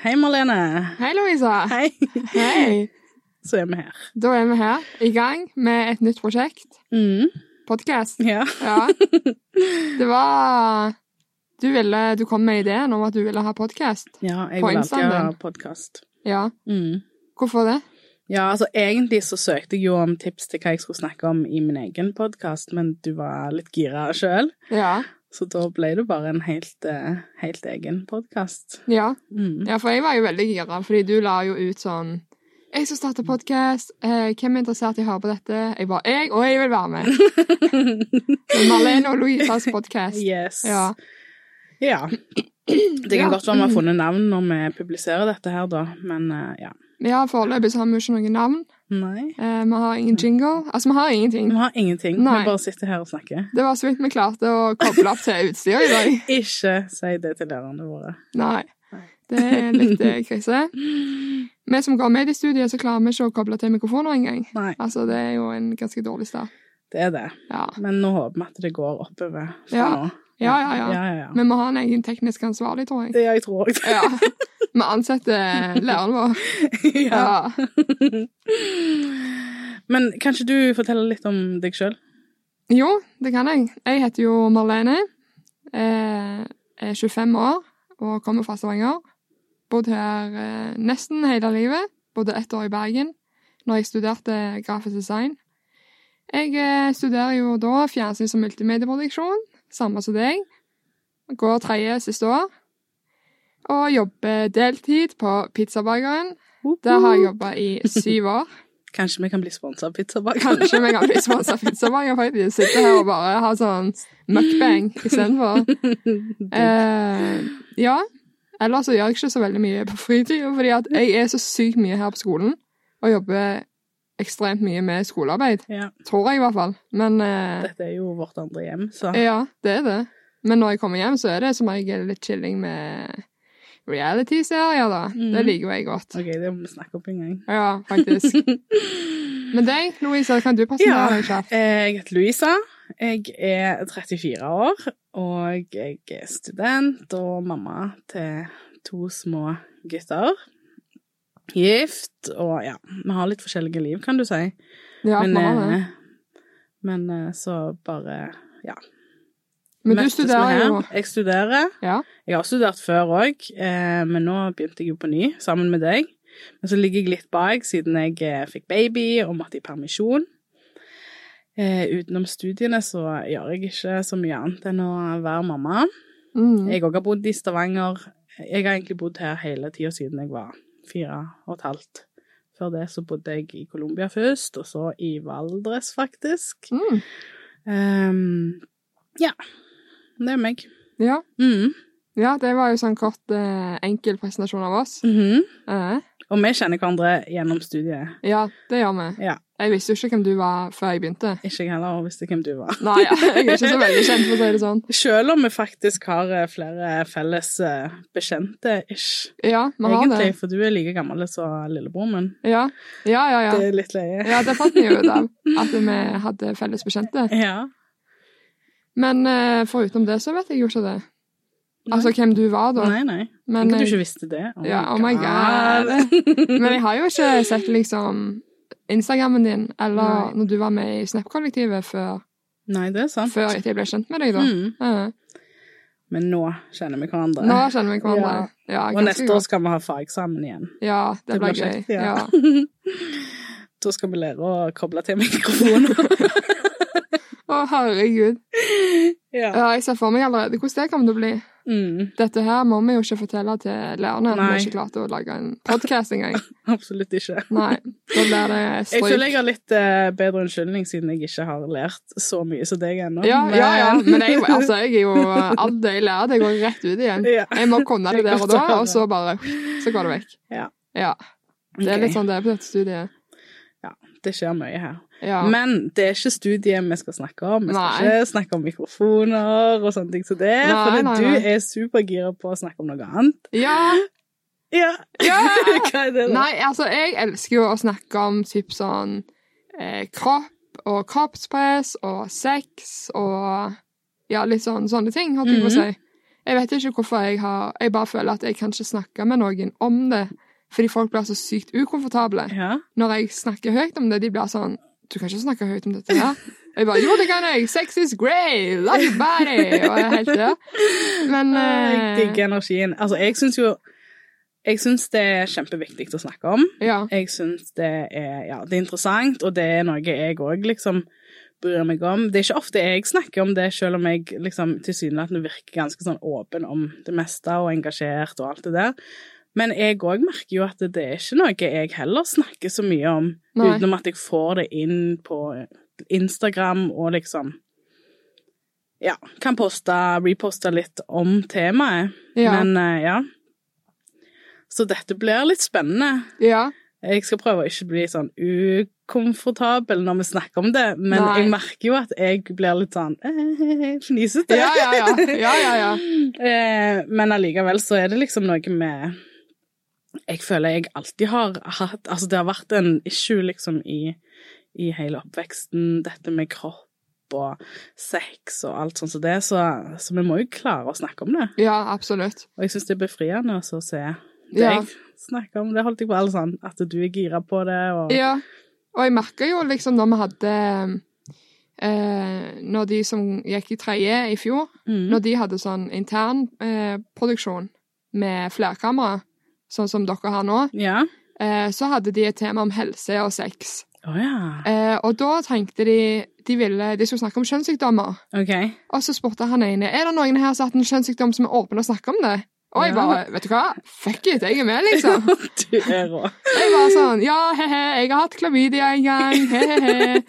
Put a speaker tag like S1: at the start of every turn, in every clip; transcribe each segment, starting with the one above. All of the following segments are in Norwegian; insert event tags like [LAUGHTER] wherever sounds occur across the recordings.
S1: Hei, Marlene.
S2: Hei, Louisa.
S1: Hei. [LAUGHS]
S2: Hei.
S1: Så er vi her.
S2: Da er vi her, i gang med et nytt prosjekt.
S1: Mm,
S2: Podkast.
S1: ja. [LAUGHS]
S2: Ja. Det var Du ville Du kom med ideen om at du ville ha podkast.
S1: ja, jeg
S2: På
S1: vil alltid
S2: Instaen
S1: ha
S2: din.
S1: podkast.
S2: Ja.
S1: Mm.
S2: Hvorfor det?
S1: Ja, altså egentlig så søkte jeg jo om tips til hva jeg skulle snakke om i min egen podkast, men du var litt gira sjøl,
S2: Ja.
S1: så da ble det bare en helt, eh, helt egen podkast.
S2: Ja.
S1: Mm.
S2: ja, for jeg var jo veldig gira, fordi du la jo ut sånn jeg som starter podkast. Eh, hvem er interessert i å høre på dette? Jeg bare Jeg, og jeg vil være
S1: [LAUGHS]
S2: med. Marlene og Louisas podkast.
S1: Yes.
S2: Ja.
S1: Ja. Det kan
S2: Ja.
S1: godt være vi har funnet navn når vi publiserer dette her, da, men eh, ja.
S2: Vi har foreløpig så har vi ikke noe navn.
S1: Nei.
S2: Eh, vi har ingen jingle. Altså, vi har ingenting.
S1: Vi har ingenting.
S2: Nei.
S1: Vi bare sitter her og snakker.
S2: Det var så vidt vi klarte å koble opp til utstyret i dag.
S1: Ikke si det til lærerne våre.
S2: Nei. Det er litt eh, krise. Vi som går med i studiet, så klarer vi ikke å koble til mikrofoner engang.
S1: Nei,
S2: Altså, det er jo en ganske dårlig start.
S1: det er det.
S2: Ja.
S1: Men nå håper vi at det går oppover fra
S2: Ja.
S1: nå.
S2: Ja, ja, ja.
S1: ja, ja, ja.
S2: Vi må ha en egen teknisk ansvarlig, tror jeg.
S1: Det jeg tror òg.
S2: Ja. Vi ansetter læreren vår.
S1: ja.
S2: [LAUGHS] Ja.
S1: [LAUGHS] Men kan ikke du fortelle litt om deg sjøl?
S2: Jo, det kan jeg. Jeg heter jo Marlene. Eh, er 25 år og kommer fra Stavanger. Bodd her eh, nesten hele livet. Bodde ett år i Bergen når jeg studerte grafisk design. Jeg eh, studerer jo da fjernsyns- og multimedieproduksjon, samme som deg. Går tredje siste år. Og jobber deltid på Pizzabakeren. Der har jeg jobba i syv år.
S1: Kanskje vi kan bli sponsa av Pizzabaker?
S2: Kanskje vi kan bli sponsa av Pizzabanger, faktisk. Sitte her og bare ha sånn mukbang istedenfor.
S1: [LAUGHS]
S2: Eh, ja. Ellers så gjør jeg ikke så veldig mye på fritida, fordi at jeg er så sykt mye her på skolen. Og jobber ekstremt mye med skolearbeid.
S1: Ja.
S2: Tror jeg, i hvert fall. Men eh,
S1: Dette er jo vårt andre hjem, så
S2: ja, det er det. Men når jeg kommer hjem, så er det som regel litt chilling med reality-serier, da. Det
S1: Mm.
S2: liker jo jeg godt.
S1: OK, det må vi snakke opp en gang.
S2: Ja,
S1: [LAUGHS]
S2: faktisk. Men deg, Louisa, kan du
S1: Ja.
S2: presentere deg kjapt?
S1: Jeg heter Louisa. Jeg er 34 år, og jeg er student og mamma til to små gutter. Gift og ja, vi har litt forskjellige liv, kan du si.
S2: Ja,
S1: men,
S2: mamma, det.
S1: eh, men eh, så bare ja.
S2: Men du
S1: Møttes vi
S2: studerer
S1: her.
S2: jo
S1: Jeg studerer.
S2: Ja.
S1: Jeg har studert før òg, eh, men nå begynte jeg jo på ny sammen med deg. Men så ligger jeg litt bak siden jeg eh, fikk baby og måtte i permisjon. Eh, utenom studiene så gjør jeg ikke så mye annet enn å være mamma.
S2: Mm.
S1: Jeg òg har bodd i Stavanger. Jeg har egentlig bodd her hele tida siden jeg var fire og et halvt. Før det så bodde jeg i Colombia først, og så i Valdres, faktisk.
S2: Mm.
S1: Ehm, ja. Det er meg.
S2: Ja.
S1: Mm.
S2: ja, det var jo sånn kort, eh, enkel presentasjon av oss.
S1: Mhm.
S2: Eh,
S1: Og vi kjenner hverandre gjennom studiet.
S2: ja, det gjør vi.
S1: Ja.
S2: Jeg visste jo ikke hvem du var før jeg begynte.
S1: Ikke jeg heller visste hvem du var.
S2: Nei, [LAUGHS] jeg er ikke så veldig kjent, for å si det sånn.
S1: Selv om vi faktisk har eh, flere felles eh, bekjente, ish.
S2: Ja, vi har det.
S1: Egentlig, for du er like gammel som lillebroren min.
S2: Ja, ja, ja. ja.
S1: Det er litt løye.
S2: Ja, det fant vi jo ut av, at vi hadde felles bekjente.
S1: Ja.
S2: Men eh, forutenom det så vet jeg jo ikke det. Altså hvem du var da.
S1: Nei, nei.
S2: Men,
S1: Ikke du
S2: jeg-
S1: ikke visste det. Oh
S2: ja, oh my god. Men jeg har jo ikke sett liksom Instagrammen din, eller
S1: Nei.
S2: når du var med i Snap-kollektivet før,
S1: [LAUGHS] Nei, det er sant.
S2: før etter jeg ble kjent med deg, da.
S1: Mm.
S2: Ja.
S1: Men nå kjenner vi hverandre.
S2: Nå kjenner vi hverandre. Ja,
S1: og
S2: ganske
S1: neste år
S2: godt.
S1: skal vi ha fageksamen igjen.
S2: Ja, det,
S1: Det
S2: blir
S1: blir
S2: gøy.
S1: kjekt, ja.
S2: Ja.
S1: [LAUGHS] Da skal vi lære å koble til mikrofoner.
S2: Å, herregud.
S1: [LAUGHS] ja.
S2: Ja, jeg ser for meg allerede hvordan det kommer til å bli.
S1: Mm,
S2: Dette her må vi jo ikke fortelle til lærerne. Vi
S1: Nei.
S2: har ikke klart å lage en podkast engang.
S1: absolutt ikke.
S2: Nei. Da blir det
S1: Jeg føler
S2: stryk.
S1: jeg har litt eh, bedre unnskyldning siden jeg ikke har lært så mye som deg ennå.
S2: Ja, ja, ja.
S1: [LAUGHS]
S2: Men jeg,
S1: Men-
S2: altså, jeg er jo Alt det jeg lærer, det går rett ut igjen.
S1: Ja.
S2: Jeg må kunne det
S1: Det er
S2: der og
S1: godt
S2: da,
S1: å høre.
S2: og så bare Så går det vekk.
S1: Ja.
S2: ja. Det er
S1: Ok.
S2: litt sånn det er på dette studiet.
S1: Det skjer mye her.
S2: Ja.
S1: Men det er ikke studiet vi skal snakke om. Vi skal
S2: Nei.
S1: ikke snakke om mikrofoner og sånne ting som det.
S2: Nei,
S1: for
S2: nei,
S1: du
S2: nei.
S1: er supergira på å snakke om noe annet.
S2: ja.
S1: Ja!
S2: ja.
S1: [LAUGHS] Hva er det? da?
S2: Nei, altså, jeg elsker jo å snakke om typ sånn eh, kropp og
S1: Mhm.
S2: kroppspress og sex og ja, litt sånn, sånne ting, holdt jeg på å si. Jeg vet ikke hvorfor jeg har Jeg bare føler at jeg kan ikke snakke med noen om det, fordi folk blir så sykt ukomfortable.
S1: Ja.
S2: Når jeg snakker høyt om det, de blir sånn Du kan ikke snakke høyt om dette her. Jeg bare Jo, det kan jeg! Sex is great! Love your body! Og jeg er helt der. Men
S1: Jeg
S2: eh,
S1: digger energien. Altså, jeg syns jo Jeg syns det er kjempeviktig å snakke om.
S2: eh, ja.
S1: Jeg syns det er Ja, det er interessant, og det er noe jeg òg liksom bryr meg om. Det er ikke ofte jeg snakker om det, selv om jeg liksom tilsynelatende virker ganske sånn åpen om det meste og engasjert og alt det der. Men jeg òg merker jo at det er ikke noe jeg heller snakker så mye om,
S2: Nei.
S1: utenom at jeg får det inn på Instagram og liksom Ja, kan poste, reposte litt om temaet.
S2: Ja.
S1: Men eh, ja. Så dette blir litt spennende.
S2: ja.
S1: Jeg skal prøve å ikke bli sånn ukomfortabel når vi snakker om det, men
S2: Nei.
S1: jeg merker jo at jeg blir litt sånn eh, fnisete.
S2: Ja, ja,
S1: [LAUGHS]
S2: ja. ja, ja, ja.
S1: Eh, Men allikevel så er det liksom noe med Jeg føler jeg alltid har hatt Altså, det har vært en issue liksom i, i hele oppveksten, dette med kropp og sex og alt sånt som det, så, så vi må jo klare å snakke om det.
S2: ja absolutt.
S1: Og jeg syns det er befriende også å se deg
S2: Ja.
S1: snakke om det. Holdt jeg på alle sånn at du er gira på det, og
S2: Ja. Og jeg merker jo liksom når vi hadde eh, Når de som gikk i tredje i fjor,
S1: Mm.
S2: Når de hadde sånn intern eh, produksjon med flerkamera, sånn som dere har nå,
S1: Ja.
S2: eh, så hadde de et tema om helse og sex.
S1: Å ja.
S2: Eh, og da tenkte de de, ville, de skulle snakke om kjønnssykdommer.
S1: OK.
S2: Og så spurte han ene er det noen her som har hatt en kjønnssykdom som er åpen å snakke om det. Og jeg
S1: Ja.
S2: bare Vet du hva? Fuck it, jeg er med,
S1: [LAUGHS]
S2: liksom.
S1: du er rå.
S2: Jeg var sånn Ja, he-he, jeg har hatt klamydia en gang. He-he-he.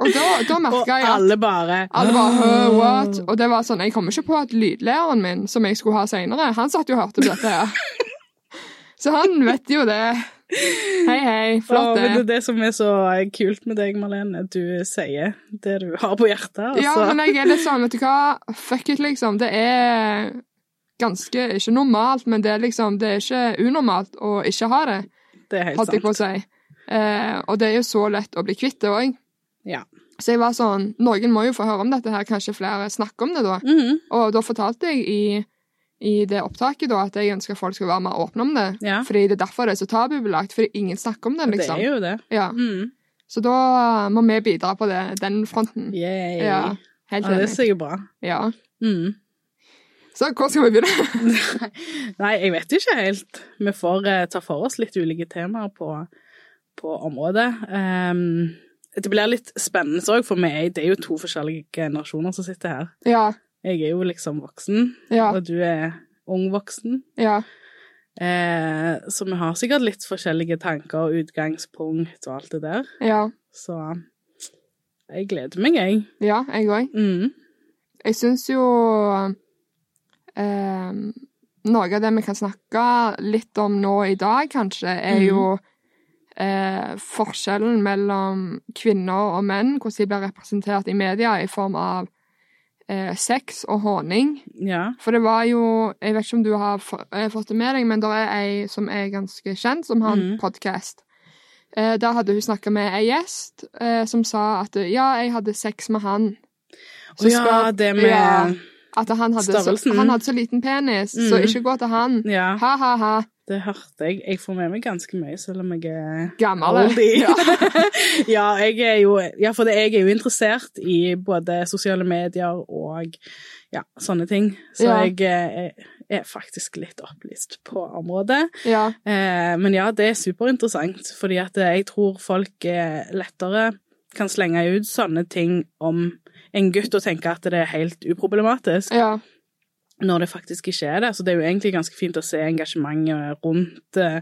S2: Og da, da
S1: Og
S2: merka jeg at
S1: alle Ah. bare
S2: Alle bare «Huh, what? Og det var sånn, jeg kommer ikke på at lydlæreren min, som jeg skulle ha senere, han satt jo og hørte på dette her. [LAUGHS] Så han vet jo det. Hei, hei.
S1: Å,
S2: Flott
S1: men det
S2: det.
S1: er det som er så kult med deg, Marlene. Du sier det du har på hjertet. Altså.
S2: Ja, men jeg er litt sånn, vet du hva? Fuck it, liksom. Det er ganske, ikke normalt, men det er liksom, det er ikke unormalt å ikke ha det,
S1: det er helt
S2: holdt jeg på å
S1: sant.
S2: si. Eh, og det er jo så lett å bli kvitt det òg.
S1: Ja.
S2: Så jeg var sånn, noen må jo få høre om dette her, kanskje flere snakker om det da.
S1: Mhm.
S2: Og da fortalte jeg i, i det opptaket da, at jeg ønsker at folk skal være mer åpne om det.
S1: Ja.
S2: Fordi det er derfor det er så tabubelagt, fordi ingen snakker om det,
S1: Det
S2: liksom.
S1: er jo det.
S2: ja.
S1: Mm.
S2: Så da eh, må vi bidra på det, den fronten.
S1: Yay.
S2: Ja,
S1: Ja,
S2: helt
S1: det er
S2: enig.
S1: sikkert bra.
S2: Ja.
S1: Mm. [LAUGHS]
S2: Så hvor skal vi begynne? [LAUGHS]
S1: Nei, jeg vet ikke helt. Vi får eh, ta for oss litt ulike temaer på, på området. Ehm, det blir litt spennende òg, for vi er, det er jo to forskjellige generasjoner som sitter her.
S2: ja,
S1: Jeg er jo liksom voksen,
S2: ja,
S1: og du er ung voksen.
S2: ja,
S1: Eh, så vi har sikkert litt forskjellige tanker og utgangspunkt og alt det der.
S2: ja.
S1: Så jeg gleder meg, jeg.
S2: Ja, jeg òg.
S1: Mm.
S2: Jeg syns jo eh, Noe av det vi kan snakke litt om nå i dag, kanskje, er
S1: Mhm.
S2: jo eh, forskjellen mellom kvinner og menn, hvordan de blir representert i media i form av eh, sex og håning.
S1: Ja.
S2: For det var jo Jeg vet ikke om du har f- eh, fått det med deg, men det er ei som er ganske kjent, som har en
S1: Mhm.
S2: podkast. Eh, der hadde hun snakka med ei gjest eh, som sa at ja, jeg hadde sex med han.
S1: Og ja,
S2: spør-
S1: det med
S2: Ja. At han hadde, så,
S1: Størrelsen.
S2: han hadde så liten penis, så
S1: Mm.
S2: ikke gå til han.
S1: Ja,
S2: Ha, ha, ha.
S1: det hørte jeg. Jeg får med meg ganske mye, selv om jeg er
S2: Gammel.
S1: Aldi.
S2: Ja.
S1: [LAUGHS] ja, jeg er jo, ja, for det, jeg er jo interessert i både sosiale medier og ja, sånne ting. Så
S2: Ja.
S1: jeg eh, er faktisk litt opplyst på området.
S2: ja.
S1: Eh, men ja, det er superinteressant, fordi at eh, jeg tror folk eh, lettere kan slenge ut sånne ting om en gutt og tenke at det er helt uproblematisk
S2: Ja.
S1: når det faktisk ikke er det. Så det er jo egentlig ganske fint å se engasjementet rundt uh,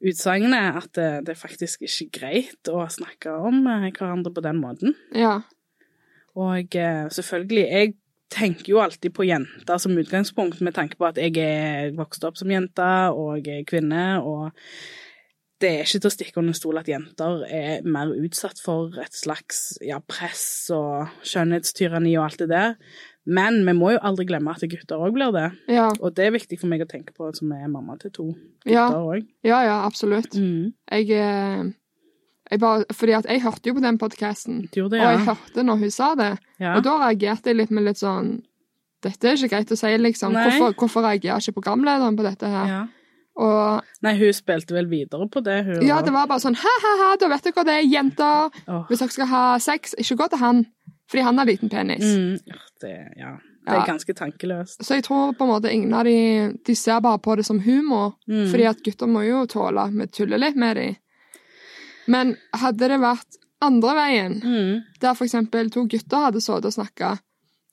S1: utsagnet, at eh, det er faktisk ikke greit å snakke om eh, hverandre på den måten.
S2: ja.
S1: Og eh, selvfølgelig, jeg tenker jo alltid på jenter som utgangspunkt, med tanke på at jeg er vokst opp som jente og er kvinne, og det er ikke til å stikke under stol at jenter er mer utsatt for et slags ja, press og skjønnhetstyranni og alt det der. Men vi må jo aldri glemme at gutter òg blir det.
S2: Ja.
S1: Og det er viktig for meg å tenke på, som er mamma til to
S2: Ja.
S1: gutter òg.
S2: ja, ja, absolutt.
S1: Mm.
S2: Jeg, eh, jeg bare, fordi at jeg hørte jo på den podkasten,
S1: Du gjorde
S2: og jeg
S1: det,
S2: hørte når hun sa det,
S1: ja. ja.
S2: og da reagerte jeg litt med litt sånn Dette er ikke greit å si, liksom.
S1: Nei.
S2: Hvorfor, hvorfor reagerer ikke programlederen på dette her?
S1: Ja.
S2: Og
S1: Nei, hun spilte vel videre på det, hun.
S2: ja,
S1: også.
S2: det var bare sånn ha-ha-ha, da vet dere det, jenter.
S1: Åh.
S2: Hvis dere skal ha sex, ikke gå til han, fordi han har liten penis.
S1: Mm, ja, det, ja. det
S2: Ja.
S1: er ganske tankeløst.
S2: Så jeg tror på en måte ingen av de De ser bare på det som humor,
S1: Mm.
S2: fordi at gutter må jo tåle at vi tuller litt med dem. Men hadde det vært andre veien,
S1: Mm.
S2: der for eksempel to gutter hadde sittet og snakka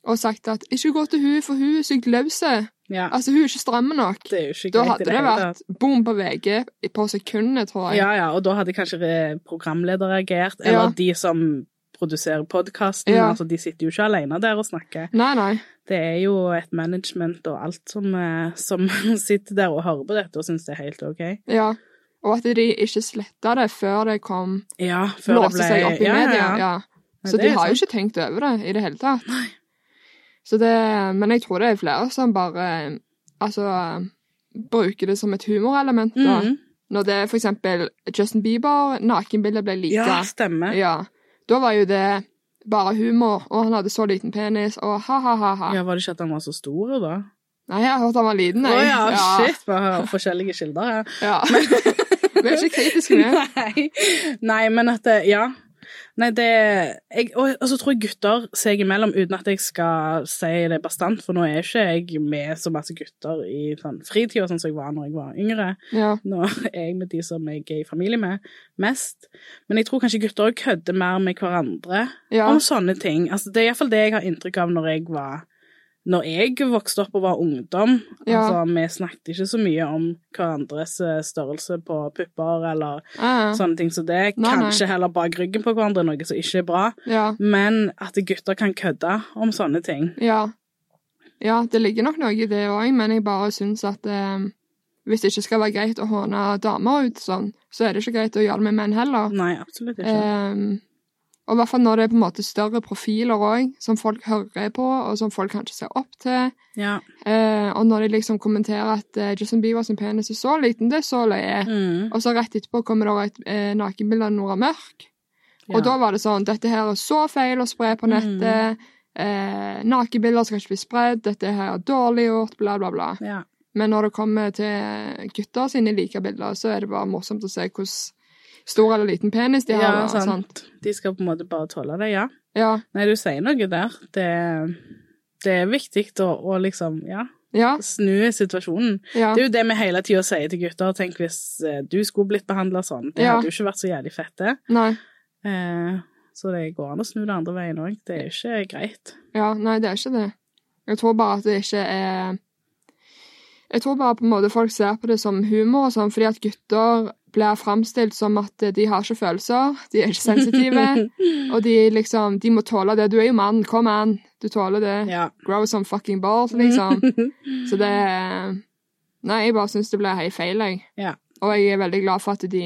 S2: og sagt at 'ikke gå til hun, for hun er sykt løs',
S1: Ja,
S2: altså hun er ikke stramme nok,
S1: det er jo ikke
S2: da
S1: greit
S2: hadde
S1: i det
S2: det
S1: hele tatt.
S2: vært bom på VG på sekundet, tror jeg.
S1: Ja, ja, og da hadde kanskje re- programleder reagert, eller
S2: Ja.
S1: de som produserer podkasten.
S2: Ja.
S1: Altså, de sitter jo ikke alene der og snakker.
S2: Nei, nei.
S1: Det er jo et management og alt som, eh, som [LAUGHS] sitter der og hører på dette og syns det er helt OK.
S2: Ja. Og at de ikke sletta det før det kom
S1: Ja, før
S2: Låste
S1: det ble
S2: seg opp i
S1: ja,
S2: media.
S1: Ja,
S2: Ja,
S1: ja. Nei,
S2: Så
S1: det
S2: de
S1: er
S2: har jo ikke tenkt over det i det hele tatt. Så det, men jeg tror det er flere som bare altså, bruker det som et humorelement. da.
S1: Mhm.
S2: Når det for eksempel Justin Bieber, nakenbildet ble lika.
S1: Ja, stemmer.
S2: Ja. Da var jo det bare humor, og han hadde så liten penis, og ha-ha-ha-ha.
S1: Ja, Var det ikke at han var så stor, da?
S2: Nei, jeg har hørt han var liten,
S1: Å
S2: jeg.
S1: ja, shit! Vi har forskjellige kilder her.
S2: Ja. [LAUGHS] Vi er ikke kritiske med.
S1: Nei. Nei, men at det, Ja. Nei, det jeg, og, og så tror jeg gutter seg imellom, uten at jeg skal si det bastant, for nå er ikke jeg med så masse gutter i sånn fritida, sånn som jeg var når jeg var yngre.
S2: Ja.
S1: Nå [LAUGHS] er jeg med de som jeg er i familie med, mest. Men jeg tror kanskje gutter også kødder mer med hverandre
S2: Ja.
S1: om sånne ting. Altså, det er iallfall det jeg har inntrykk av når jeg var når jeg vokste opp og var ungdom,
S2: Ja.
S1: altså, vi snakket ikke så mye om hverandres eh, størrelse på pupper eller
S2: Ja. ja.
S1: sånne ting som det.
S2: Nei, nei.
S1: Kanskje heller bak ryggen på hverandre, noe som ikke er bra.
S2: ja.
S1: Men at gutter kan kødde om sånne ting.
S2: Ja. ja, det ligger nok noe i det òg, men jeg bare syns at eh, hvis det ikke skal være greit å håne damer ut sånn, så er det ikke greit å gjøre det med menn heller.
S1: Nei, absolutt ikke.
S2: Eh, og i hvert fall når det er på en måte større profiler òg, som folk hører på, og som folk kanskje ser opp til.
S1: Ja.
S2: Eh, og når de liksom kommenterer at eh, Justin Bieber sin penis er så liten, det er så løye.
S1: Mm,
S2: Og så rett etterpå kommer det et eh, nakenbilde av Nora Mørk.
S1: ja. Mm.
S2: Og da var det sånn Dette her er så feil å spre på nettet. Eh, Nakenbilder skal ikke bli spredd. Dette her er dårlig gjort. Bla, bla, bla.
S1: ja.
S2: Men når det kommer til gutter sine like bilder, så er det bare morsomt å se hvordan stor eller liten penis de har.
S1: Ja,
S2: da,
S1: sant.
S2: sant?
S1: De skal på en måte bare tåle det, ja.
S2: Ja,
S1: Nei, du sier noe der. Det, det er viktig å, å liksom, ja,
S2: ja,
S1: snu situasjonen.
S2: ja.
S1: Det er jo det vi hele tida sier til gutter. Tenk hvis eh, du skulle blitt behandla sånn. Det
S2: Ja.
S1: hadde jo ikke vært så jævlig fett, det.
S2: Nei,
S1: Eh, så det går an å snu det andre veien òg. Det er jo ikke greit.
S2: ja, nei, det er ikke det. Jeg tror bare at det ikke er Jeg tror bare på en måte folk ser på det som humor og sånn, fordi at gutter blir framstilt som at de har ikke følelser, de er ikke
S1: [LAUGHS]
S2: sensitive. Og de liksom, de må tåle det. Du er jo mann, kom an, du tåler det.
S1: ja.
S2: Grow some fucking balls,
S1: [LAUGHS]
S2: liksom. Så det eh, Nei, jeg bare syns det ble helt feil, jeg.
S1: Ja.
S2: Og jeg er veldig glad for at de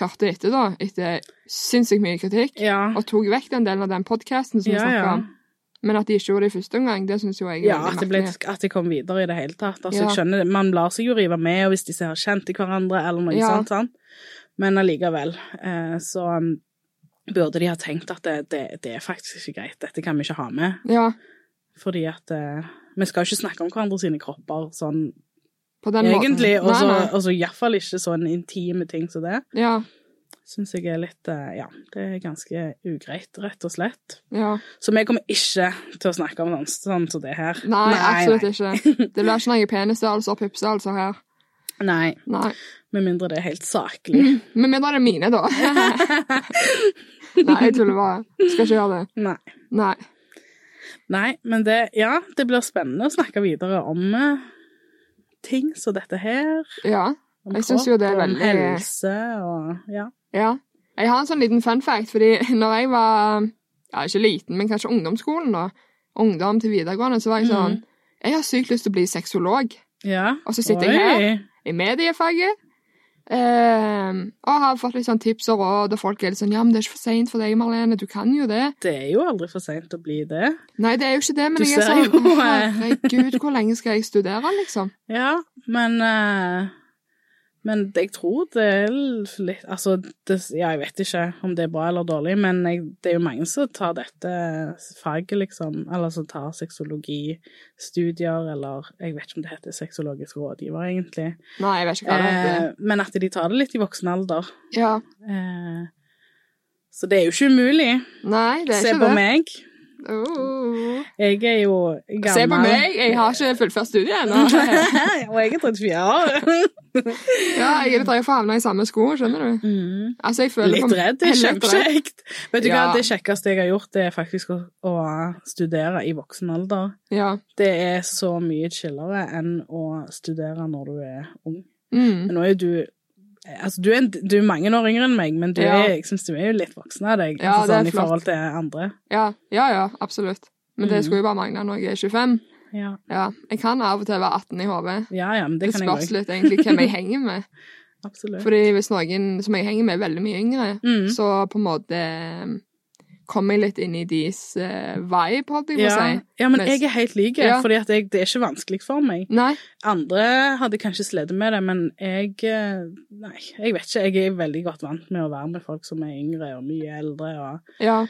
S2: hørte etter, da, etter sinnssykt mye kritikk.
S1: Ja.
S2: Og tok vekk den delen av den podkasten som vi
S1: Ja,
S2: snakket
S1: ja.
S2: om. Men at de ikke gjorde det i første omgang, det syns jo jeg er
S1: Ja, at
S2: veldig
S1: det, ble,
S2: merkelig.
S1: at det kom videre i det hele tatt. Altså,
S2: Ja.
S1: jeg skjønner det. Man lar seg jo rive med, og hvis de har kjent til hverandre, eller noe
S2: Ja.
S1: sånt, sant? men allikevel, eh, så um, burde de ha tenkt at det, det, det er faktisk ikke greit, dette kan vi ikke ha med,
S2: Ja,
S1: fordi at eh, vi skal jo ikke snakke om hverandre sine kropper sånn
S2: på den
S1: egentlig, og
S2: måten.
S1: så-
S2: Nei, nei.
S1: og så iallfall ikke sånn intime ting som det.
S2: Ja,
S1: Syns jeg er litt eh, Ja, det er ganske ugreit, rett og slett.
S2: ja.
S1: Så vi kommer ikke til å snakke om sånn sånn som det her.
S2: Nei, absolutt
S1: nei.
S2: ikke. Det blir ikke noen penisstørrelser og puppestørrelser her.
S1: Nei.
S2: Nei.
S1: Med mindre det er helt
S2: [LAUGHS]
S1: saklig.
S2: Med mindre det er
S1: [LAUGHS]
S2: mine, da. Nei, jeg tuller bare. Skal ikke gjøre det.
S1: Nei.
S2: Nei.
S1: Nei, men det Ja, det blir spennende å snakke videre om eh, ting som dette her.
S2: Ja.
S1: Om
S2: Jeg synes jo det er
S1: kropp, om
S2: veldig-
S1: helse og Ja.
S2: ja. Jeg har en sånn liten fun fact, fordi når jeg var ja, ikke liten, men kanskje ungdomsskolen, da, ungdom til videregående, så var jeg sånn
S1: Mm.
S2: Jeg har sykt lyst til å bli sexolog
S1: ja.
S2: Og så sitter jeg her. i mediefaget. Eh, og har fått litt sånn tips og råd, og folk er litt sånn Ja, men det er ikke for seint for deg, Marlene. Du kan jo det.
S1: Det er jo aldri for seint å bli det.
S2: Nei, det er jo ikke det, men
S1: Du
S2: jeg er
S1: [LAUGHS] ser
S2: sånn
S1: jo, eh.
S2: Herregud, hvor lenge skal jeg studere, liksom?
S1: Ja, men eh, Men jeg tror det er litt Altså, det, ja, jeg vet ikke om det er bra eller dårlig, men jeg, det er jo mange som tar dette faget, liksom. Eller som tar sexologistudier, eller jeg vet ikke om det heter sexologisk rådgiver, egentlig.
S2: Nei, jeg vet ikke hva det heter.
S1: Eh, men at de tar det litt i voksen alder.
S2: Ja.
S1: Eh, så det er jo ikke umulig.
S2: Nei, det er
S1: Se
S2: ikke
S1: på
S2: det.
S1: meg.
S2: Oh.
S1: Jeg er jo gammel.
S2: Se på meg, jeg har ikke fullført studiet ennå.
S1: [LAUGHS] Og jeg er 34 år.
S2: [LAUGHS] Ja, jeg er [LAUGHS] litt redd for å havne i samme sko, skjønner du.
S1: Mm.
S2: Altså, jeg føler
S1: Litt
S2: på-
S1: redd, det er
S2: Jeg er litt redd.
S1: kjempekjekt. Vet du
S2: Ja.
S1: hva, det kjekkeste jeg har gjort, det er faktisk å, å studere i voksen alder.
S2: Ja.
S1: Det er så mye chillere enn å studere når du er ung.
S2: Mm.
S1: Nå er jo du Altså, du er, en, du er mange år yngre enn meg, men du
S2: Ja.
S1: er, jeg syns du er jo litt voksen av deg.
S2: Ja,
S1: altså,
S2: det er
S1: sånn, I
S2: flott.
S1: forhold til andre.
S2: ja. Ja, ja, absolutt. Men det
S1: Mm.
S2: skulle jo bare mangle når jeg er 25.
S1: Ja,
S2: Ja, jeg kan av og til være 18 i hodet.
S1: ja, ja men det,
S2: Det
S1: kan jeg
S2: spørs
S1: òg.
S2: litt egentlig hvem
S1: [LAUGHS]
S2: jeg henger med.
S1: Absolutt.
S2: Fordi hvis noen som jeg henger med, er veldig mye yngre,
S1: Mm.
S2: så på en måte eh, kommer jeg litt inn i deres eh, vibe, holdt jeg på å
S1: ja.
S2: si.
S1: ja, men
S2: Mens-
S1: jeg er helt lik,
S2: Ja.
S1: fordi at jeg, det er ikke vanskelig for meg.
S2: Nei,
S1: Andre hadde kanskje slitt med det, men jeg eh, Nei, jeg vet ikke. Jeg er veldig godt vant med å være med folk som er yngre og mye eldre. Og,
S2: ja.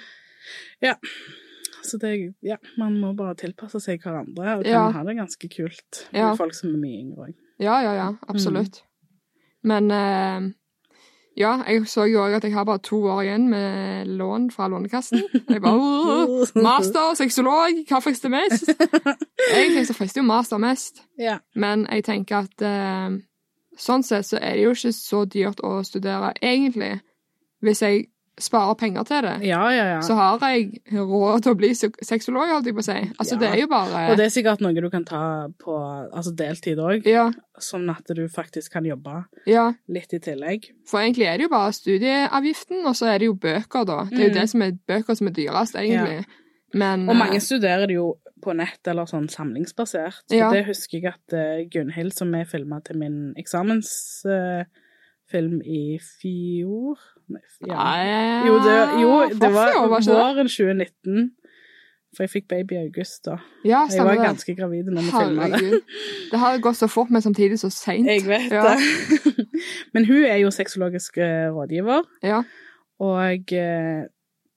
S1: så det, ja, man må bare tilpasse seg hverandre, og kan
S2: Ja.
S1: ha det ganske kult med
S2: Ja.
S1: folk som er mye yngre òg.
S2: Ja, ja,
S1: Mm.
S2: ja, absolutt. Men eh, ja, jeg så jo òg at jeg har bare to år igjen med lån fra Lånekassen. Jeg bare «Åh, Uh, Master, sexolog, hva frister mest? Egentlig så frister jo master mest,
S1: [LAUGHS] Ja.
S2: men jeg tenker at eh, sånn sett så er det jo ikke så dyrt å studere, egentlig. Hvis jeg sparer penger til det,
S1: ja, ja, ja.
S2: så har jeg råd til å bli se- sexolog, holdt jeg på å si. Altså,
S1: Ja.
S2: det er jo bare
S1: Og det er sikkert noe du kan ta på altså deltid òg,
S2: Ja,
S1: sånn at du faktisk kan jobbe
S2: ja.
S1: litt i tillegg.
S2: For egentlig er det jo bare studieavgiften, og så er det jo bøker, da. Det er
S1: Mm.
S2: jo det som er bøker som er dyrast, egentlig. Men
S1: Og mange
S2: eh,
S1: studerer det jo på nett eller sånn samlingsbasert. Så
S2: Ja.
S1: det husker jeg at eh, Gunhild, som jeg filma til min eksamensfilm eh, i fjor Nei,
S2: eh,
S1: f- ja.
S2: Nei,
S1: Jo, det, jo, det var
S2: forfjor, var ikke det?
S1: våren 2019. For jeg fikk baby i august, da.
S2: Ja,
S1: Jeg
S2: stemmer
S1: var
S2: det.
S1: ganske gravid når vi filma det.
S2: Herregud. Det har gått så fort, men samtidig så seint.
S1: Jeg vet
S2: Ja.
S1: det. [LAUGHS] Men hun er jo sexologisk eh, rådgiver,
S2: Ja.
S1: og eh,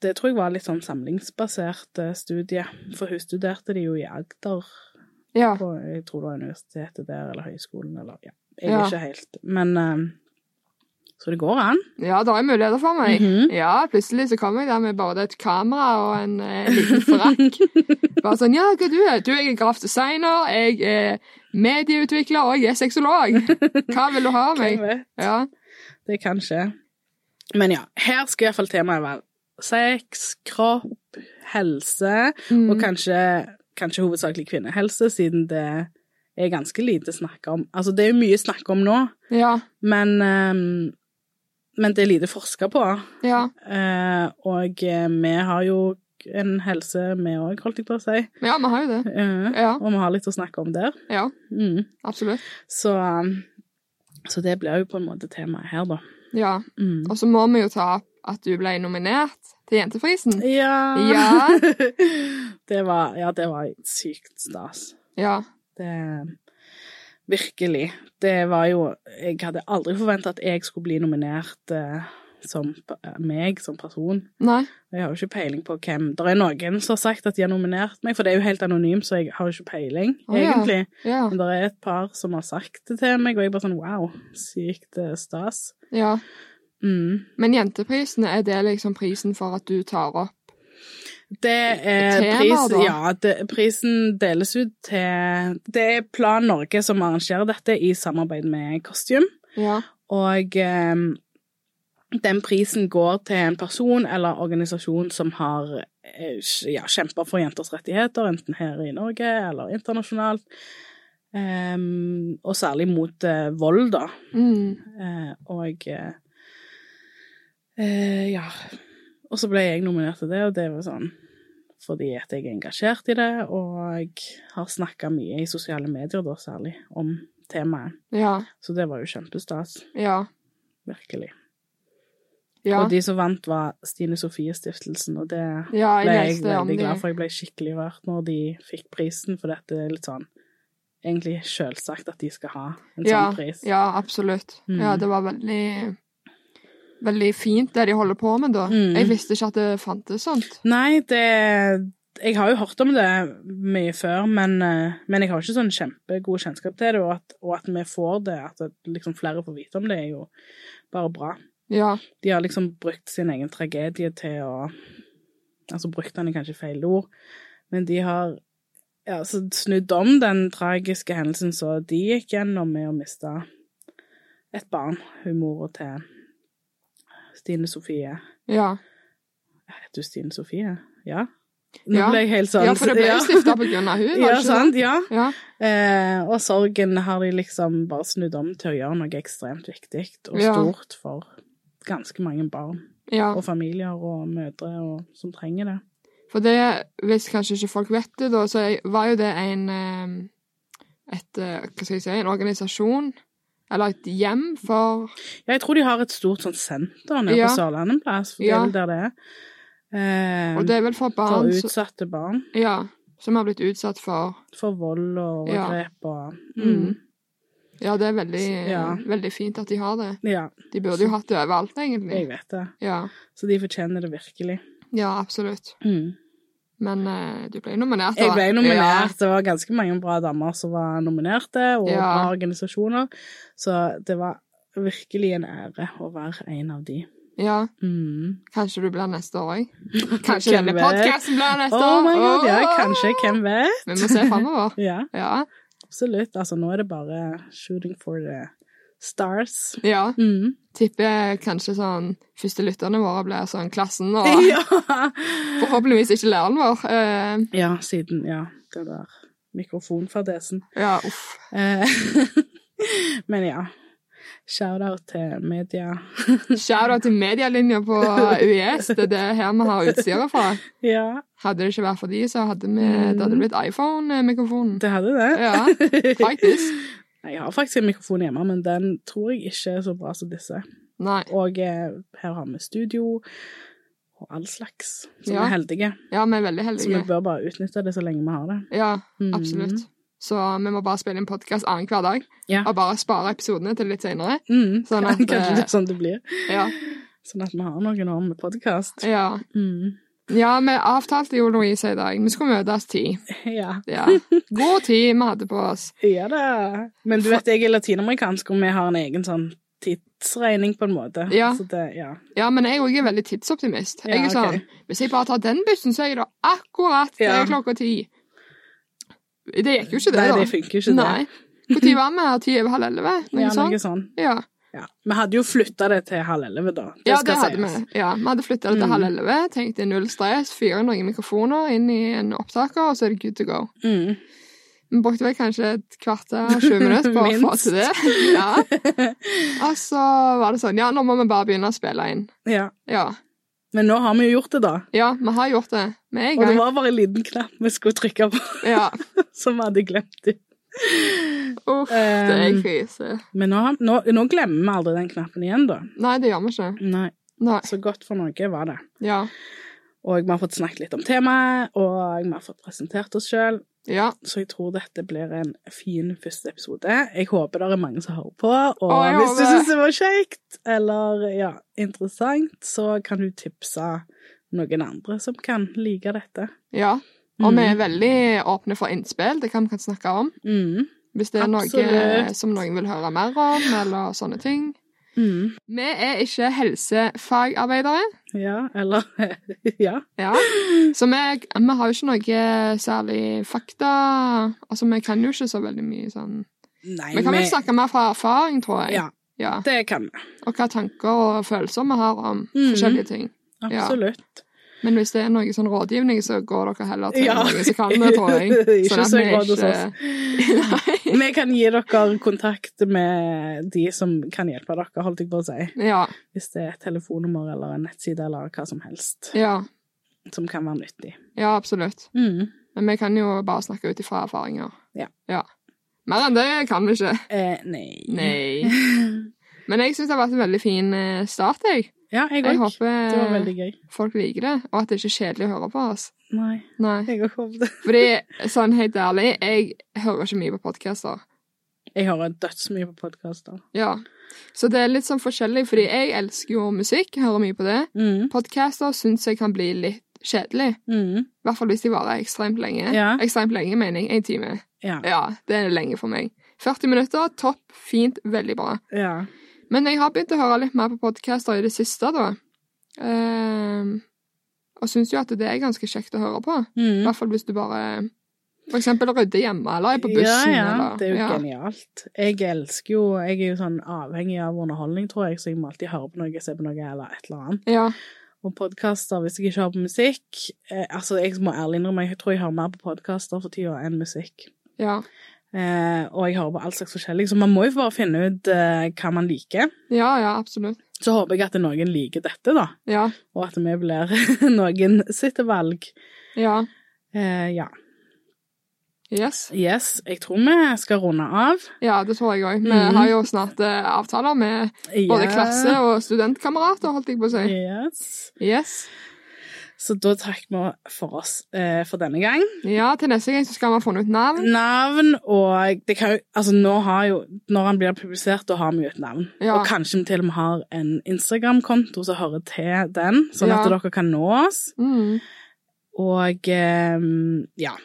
S1: det tror jeg var litt sånn samlingsbasert eh, studie. For hun studerte det jo i Agder.
S2: ja.
S1: på, jeg tror det var universitetet der, eller høyskolen, eller ja. Jeg
S2: Ja.
S1: er ikke helt Men eh, Så det går an.
S2: Ja, det er muligheter for meg.
S1: Mhm.
S2: Ja, plutselig så kommer jeg der med både et kamera og en eh, liten
S1: [LAUGHS]
S2: frakk. Bare sånn Ja, hva du er du? Jeg er grafdesigner, jeg er medieutvikler, og jeg er sexolog. Hva vil du ha av
S1: Hvem
S2: meg?
S1: vet?
S2: Ja.
S1: Det kan skje. Men ja, her skal iallfall temaet være sex, kropp, helse,
S2: Mm.
S1: og kanskje, kanskje hovedsakelig kvinnehelse, siden det er ganske lite snakk om. Altså, det er jo mye snakk om nå,
S2: Mm. Ja.
S1: men eh, men det er lite forska på.
S2: Ja.
S1: Eh, og eh, vi har jo en helse, vi òg, holdt jeg på å si.
S2: Men ja, vi har jo det.
S1: Eh,
S2: Ja,
S1: Og vi har litt å snakke om der.
S2: ja
S1: Mm.
S2: absolutt.
S1: Så, um, så det blir jo på en måte temaet her, da.
S2: Ja.
S1: Mm.
S2: Og så må vi jo ta opp at du ble nominert til Jenteprisen.
S1: Ja.
S2: Ja.
S1: [LAUGHS] det var, ja, det var sykt stas.
S2: Ja.
S1: Det Virkelig. Det var jo Jeg hadde aldri forventa at jeg skulle bli nominert eh, som p- eh, meg som person.
S2: Nei.
S1: Jeg har jo ikke peiling på hvem Det er noen som har sagt at de har nominert meg, for det er jo helt anonymt, så jeg har jo ikke peiling,
S2: Å, ja.
S1: egentlig.
S2: Ja.
S1: Men det er et par som har sagt det til meg, og jeg bare sånn wow, sykt eh, stas.
S2: ja.
S1: Mm.
S2: Men Jenteprisen, er det liksom prisen for at du tar opp
S1: Det er
S2: Tema,
S1: pris,
S2: da?
S1: ja, det, prisen deles ut til Det er Plan Norge som arrangerer dette i samarbeid med Kostium.
S2: Ja.
S1: Og eh, den prisen går til en person eller organisasjon som har eh, ja, kjempa for jenters rettigheter, enten her i Norge eller internasjonalt. Em, og særlig mot eh, vold, da.
S2: Mm.
S1: Eh, og eh, eh, ja. Og så ble jeg nominert til det, og det var sånn fordi at jeg er engasjert i det, og har snakka mye i sosiale medier, da særlig, om temaet.
S2: Ja.
S1: Så det var jo kjempestas.
S2: Ja.
S1: Virkelig.
S2: Ja.
S1: Og de som vant, var Stine Sofie Stiftelsen, og det
S2: ja jeg
S1: ble jeg
S2: leste om
S1: veldig
S2: det.
S1: glad for. Jeg ble skikkelig rørt når de fikk prisen, for dette er litt sånn egentlig selvsagt at de skal ha en
S2: Ja,
S1: sånn pris.
S2: Ja, absolutt.
S1: Mm.
S2: Ja, det var veldig Veldig fint, det de holder på med, da.
S1: Mm.
S2: Jeg visste ikke at det fantes sånt.
S1: Nei, det Jeg har jo hørt om det mye før, men, eh, men jeg har ikke sånn kjempegod kjennskap til det, og at, og at vi får det, at det, liksom flere får vite om det, er jo bare bra.
S2: Ja.
S1: De har liksom brukt sin egen tragedie til å Altså brukt den er kanskje feil ord, men de har ja, altså, snudd om den tragiske hendelsen så de gikk gjennom med å miste et barn, hun mora til Stine Sofie.
S2: Ja,
S1: Heter hun Stine Sofie? Ja. Nå
S2: Ja.
S1: ble jeg helt sånn
S2: ja for det ble
S1: ja.
S2: jo stifta på grunn av hun, var
S1: [LAUGHS] Ja, sånn.
S2: det ikke det?
S1: sant? Ja.
S2: Ja.
S1: Eh, og sorgen har de liksom bare snudd om til å gjøre noe ekstremt viktig og
S2: Ja.
S1: stort for ganske mange barn
S2: ja.
S1: og familier og mødre og, som trenger det.
S2: For det, hvis kanskje ikke folk vet det, da, så er- var jo det en eh, et, eh, Hva skal jeg si En organisasjon, eller et hjem for
S1: Ja, jeg tror de har et stort sånn senter nede
S2: Ja.
S1: på Sørlandet en plass, for
S2: Ja.
S1: det er vel der det er. Eh,
S2: Og det er vel for barn
S1: for
S2: som-
S1: utsatte barn.
S2: ja, som har blitt utsatt for
S1: For vold og
S2: Ja.
S1: overgrep og mm.
S2: Mm. Ja, det er veldig,
S1: Ja.
S2: veldig fint at de har det.
S1: Ja,
S2: De burde jo hatt det overalt,
S1: jeg
S2: egentlig.
S1: vet det.
S2: Ja,
S1: Så de fortjener det virkelig.
S2: ja absolutt.
S1: Mm.
S2: Men eh, du ble jo nominert, da.
S1: Jeg ble nominert. Det var ganske mange bra damer som var nominerte, og
S2: Ja.
S1: bra organisasjoner. Så det var virkelig en ære å være en av de.
S2: Ja, ja.
S1: Mm.
S2: Kanskje du blir neste år òg.
S1: [LAUGHS]
S2: Kanskje
S1: Hvem
S2: denne
S1: vet?
S2: podkasten blir neste
S1: Oh my god,
S2: år.
S1: ja,
S2: Åh!
S1: kanskje. Hvem vet?
S2: Vi må se framover.
S1: Ja,
S2: Ja.
S1: absolutt. Altså, nå er det bare shooting for the stars.
S2: ja.
S1: Mm.
S2: Tipper kanskje sånn første lytterne våre blir sånn klassen, og
S1: [LAUGHS] Ja.
S2: forhåpentligvis ikke læreren vår. Eh,
S1: ja, siden Ja, det der mikrofonfadesen.
S2: ja, uff.
S1: Eh, [LAUGHS] Men ja. Shout-out til media.
S2: Shout-out til medielinja på UiS, det er det her vi har utstyret fra.
S1: Ja,
S2: Hadde det ikke vært for de, så hadde vi,
S1: Mm.
S2: det hadde blitt iPhone-mikrofonen.
S1: det hadde det.
S2: Ja, faktisk.
S1: Nei, Jeg har faktisk en mikrofon hjemme, men den tror jeg ikke er så bra som disse.
S2: Nei.
S1: Og eh, her har vi studio og all slags, som
S2: Ja.
S1: er heldige.
S2: Ja, vi er veldig
S1: Så vi
S2: heldige.
S1: bør bare utnytte det så lenge vi har det.
S2: Ja,
S1: Mm.
S2: absolutt. Så vi må bare spille inn podkast annenhver dag,
S1: Ja.
S2: og bare spare episodene til litt senere.
S1: Mm.
S2: Sånn at,
S1: Kanskje det
S2: eh,
S1: er sånn det blir.
S2: Ja.
S1: Sånn at vi har noen år med podkast.
S2: ja.
S1: Mm.
S2: Ja, vi avtalte jo, Louise, i dag. Vi skulle møtes ti.
S1: Ja.
S2: Ja. God tid vi hadde på oss.
S1: ja da. Men du vet, jeg er latinamerikansk, og vi har en egen sånn tidsregning, på en måte.
S2: Ja.
S1: Så det, ja.
S2: Ja, men jeg òg er veldig tidsoptimist. Jeg
S1: Ja,
S2: er sånn, Hvis jeg bare tar den bussen, så er jeg da akkurat til
S1: Ja.
S2: klokka ti. Det gikk jo ikke det,
S1: Nei,
S2: da.
S1: det funker ikke,
S2: Nei. Hvor tid var vi her? Ti over halv elleve?
S1: det. [LAUGHS]
S2: Noe
S1: Ja,
S2: sånt?
S1: noe sånn.
S2: Ja.
S1: Ja. Vi hadde jo flytta det til halv elleve, da. Det
S2: ja, det
S1: skal
S2: hadde
S1: sies.
S2: vi. Ja, vi hadde flytta det til
S1: Mm.
S2: halv elleve. Tenkte null stress, fyre noen mikrofoner inn i en opptaker, og så er det good to go.
S1: Mm.
S2: Vi brukte vel kanskje et kvarter,
S1: [LAUGHS]
S2: 20 minutter på å få
S1: Minst. [LAUGHS]
S2: til det. Ja. Og så var det sånn Ja, nå må vi bare begynne å spille inn.
S1: Ja.
S2: Ja.
S1: Men nå har vi jo gjort det, da.
S2: Ja, vi har gjort det. Vi er i
S1: Og det
S2: gang.
S1: var bare en liten knapp vi skulle trykke på, [LAUGHS]
S2: Ja.
S1: som vi hadde glemt. i.
S2: Uff, det er
S1: Um,
S2: krise.
S1: Men nå, nå, nå glemmer vi aldri den knappen igjen, da.
S2: Nei, det gjør vi ikke.
S1: Nei.
S2: Nei.
S1: Så godt for noe var det.
S2: Ja.
S1: Og vi har fått snakket litt om temaet, og vi har fått presentert oss sjøl.
S2: Ja.
S1: Så jeg tror dette blir en fin første episode. Jeg håper det er mange som hører på. Og
S2: Å, jeg
S1: hvis du
S2: håper det.
S1: syns det var kjekt eller ja, interessant, så kan du tipse noen andre som kan like dette.
S2: ja. Og vi
S1: Mm.
S2: er veldig åpne for innspill. Det kan vi kan snakke om.
S1: Mm.
S2: Hvis det er noe
S1: Absolutt.
S2: som noen vil høre mer om, eller sånne ting.
S1: Mm.
S2: Vi er ikke helsefagarbeidere,
S1: Ja, eller [LAUGHS] Ja. [GASPS]
S2: ja. så vi, vi har jo ikke noe særlig fakta. Altså, vi kan jo ikke så veldig mye sånn
S1: Nei,
S2: Vi kan vel snakke mer fra erfaring, tror jeg.
S1: Ja,
S2: Ja.
S1: det kan vi.
S2: Og hva tanker og følelser vi har om
S1: Mhm.
S2: forskjellige ting.
S1: Absolutt.
S2: Men hvis det er noe sånn rådgivning, så går dere heller til
S1: Ja.
S2: noen som kan
S1: [LAUGHS]
S2: det, tror jeg.
S1: Ikke
S2: Sånn at
S1: søk
S2: vi
S1: råd hos
S2: ikke- Nei.
S1: [LAUGHS] Vi kan gi dere kontakt med de som kan hjelpe dere, holdt jeg på å si.
S2: Ja,
S1: Hvis det er et telefonnummer eller en nettside eller hva som helst
S2: ja,
S1: som kan være nyttig.
S2: ja, absolutt.
S1: Mm.
S2: Men vi kan jo bare snakke ut ifra erfaringer.
S1: Ja.
S2: Mer enn det kan
S1: [LAUGHS]
S2: vi ikke.
S1: Eh, nei.
S2: Nei. Men jeg syns det har vært en veldig fin eh, start, jeg.
S1: Ja, jeg òg.
S2: Jeg
S1: Det var
S2: håper
S1: veldig gøy.
S2: folk liker det, og at det ikke er kjedelig å høre på oss.
S1: Nei,
S2: Nei.
S1: jeg har ikke håpet det.
S2: Fordi, sånn helt ærlig, jeg hører ikke mye på podcaster.
S1: [LAUGHS] Jeg hører dødsmye på podkaster.
S2: Ja. Så det er litt sånn forskjellig, fordi jeg elsker jo musikk, hører mye på det.
S1: Mm.
S2: Podcaster syns jeg kan bli litt kjedelig.
S1: Mm.
S2: I hvert fall hvis de varer ekstremt lenge.
S1: Ja.
S2: Ekstremt lenge, mener jeg. En time.
S1: Ja.
S2: Ja, det er lenge for meg. 40 minutter, topp, fint, veldig bra.
S1: ja.
S2: Men jeg har begynt å høre litt mer på podcaster i det siste, da. Ehm, og syns jo at det er ganske kjekt å høre på. I
S1: Mm.
S2: hvert fall hvis du bare for eksempel rydder hjemme, eller er på
S1: ja,
S2: bussen.
S1: ja.
S2: eller,
S1: Det er jo
S2: ja.
S1: genialt. Jeg elsker jo Jeg er jo sånn avhengig av underholdning, tror jeg, så jeg må alltid høre på noe, se på noe eller et eller annet.
S2: Ja,
S1: Og podkaster, hvis jeg ikke hører på musikk eh, Altså, jeg må ærlig innrømme, jeg tror jeg hører mer på podkaster for tida enn musikk.
S2: ja.
S1: Eh, og jeg hører på all slags forskjellig, så man må jo bare finne ut eh, hva man liker.
S2: ja, ja, absolutt.
S1: Så håper jeg at noen liker dette, da,
S2: Ja,
S1: og at vi blir [LAUGHS] noen sitt valg.
S2: ja.
S1: Eh, ja.
S2: Yes.
S1: Yes, jeg tror vi skal runde av.
S2: Ja, det tror jeg òg. Vi
S1: Mhm.
S2: har jo snart eh, avtaler med både
S1: Ja.
S2: klasse og studentkamerater, holdt jeg på å si.
S1: Yes.
S2: Yes.
S1: Så da takker vi for oss eh, for denne gang.
S2: Ja, til neste gang så skal vi ha funnet ut navn.
S1: Navn og det kan jo, altså nå har jo, Når han blir publisert, da har vi jo et navn.
S2: Ja.
S1: Og kanskje vi til og med har en Instagram-konto som hører til den, sånn
S2: Ja.
S1: at dere kan nå oss.
S2: Mm.
S1: Og eh, ja.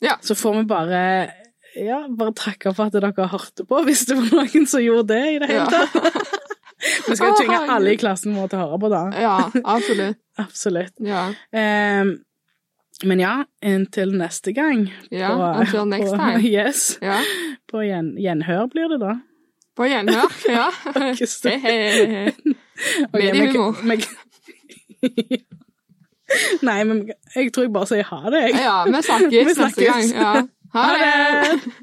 S2: Ja.
S1: Så får vi bare ja, bare takke for at dere hørte på, hvis det var noen som gjorde det i det hele
S2: Ja.
S1: tatt. Vi skal
S2: Å,
S1: tvinge
S2: herregud.
S1: alle i klassen vår til å høre på, da.
S2: [LAUGHS] ja, absolutt.
S1: Absolutt.
S2: Ja.
S1: Ehm, men ja, inntil neste gang.
S2: ja.
S1: på-
S2: Until next
S1: på, [LAUGHS]
S2: time.
S1: Yes.
S2: Ja.
S1: På gjen, gjenhør blir
S2: [LAUGHS]
S1: det, da.
S2: På
S1: [LAUGHS]
S2: gjenhør. Ja.
S1: Ikke
S2: Hei,
S1: støtt.
S2: hei, hei, hei.
S1: Ok, men-
S2: mediehumor.
S1: men- [LAUGHS] Nei, men jeg tror jeg bare sier ha det, jeg.
S2: Ja, vi snakkes
S1: Vi
S2: neste gang.
S1: snakkes.
S2: Ja. Ha det!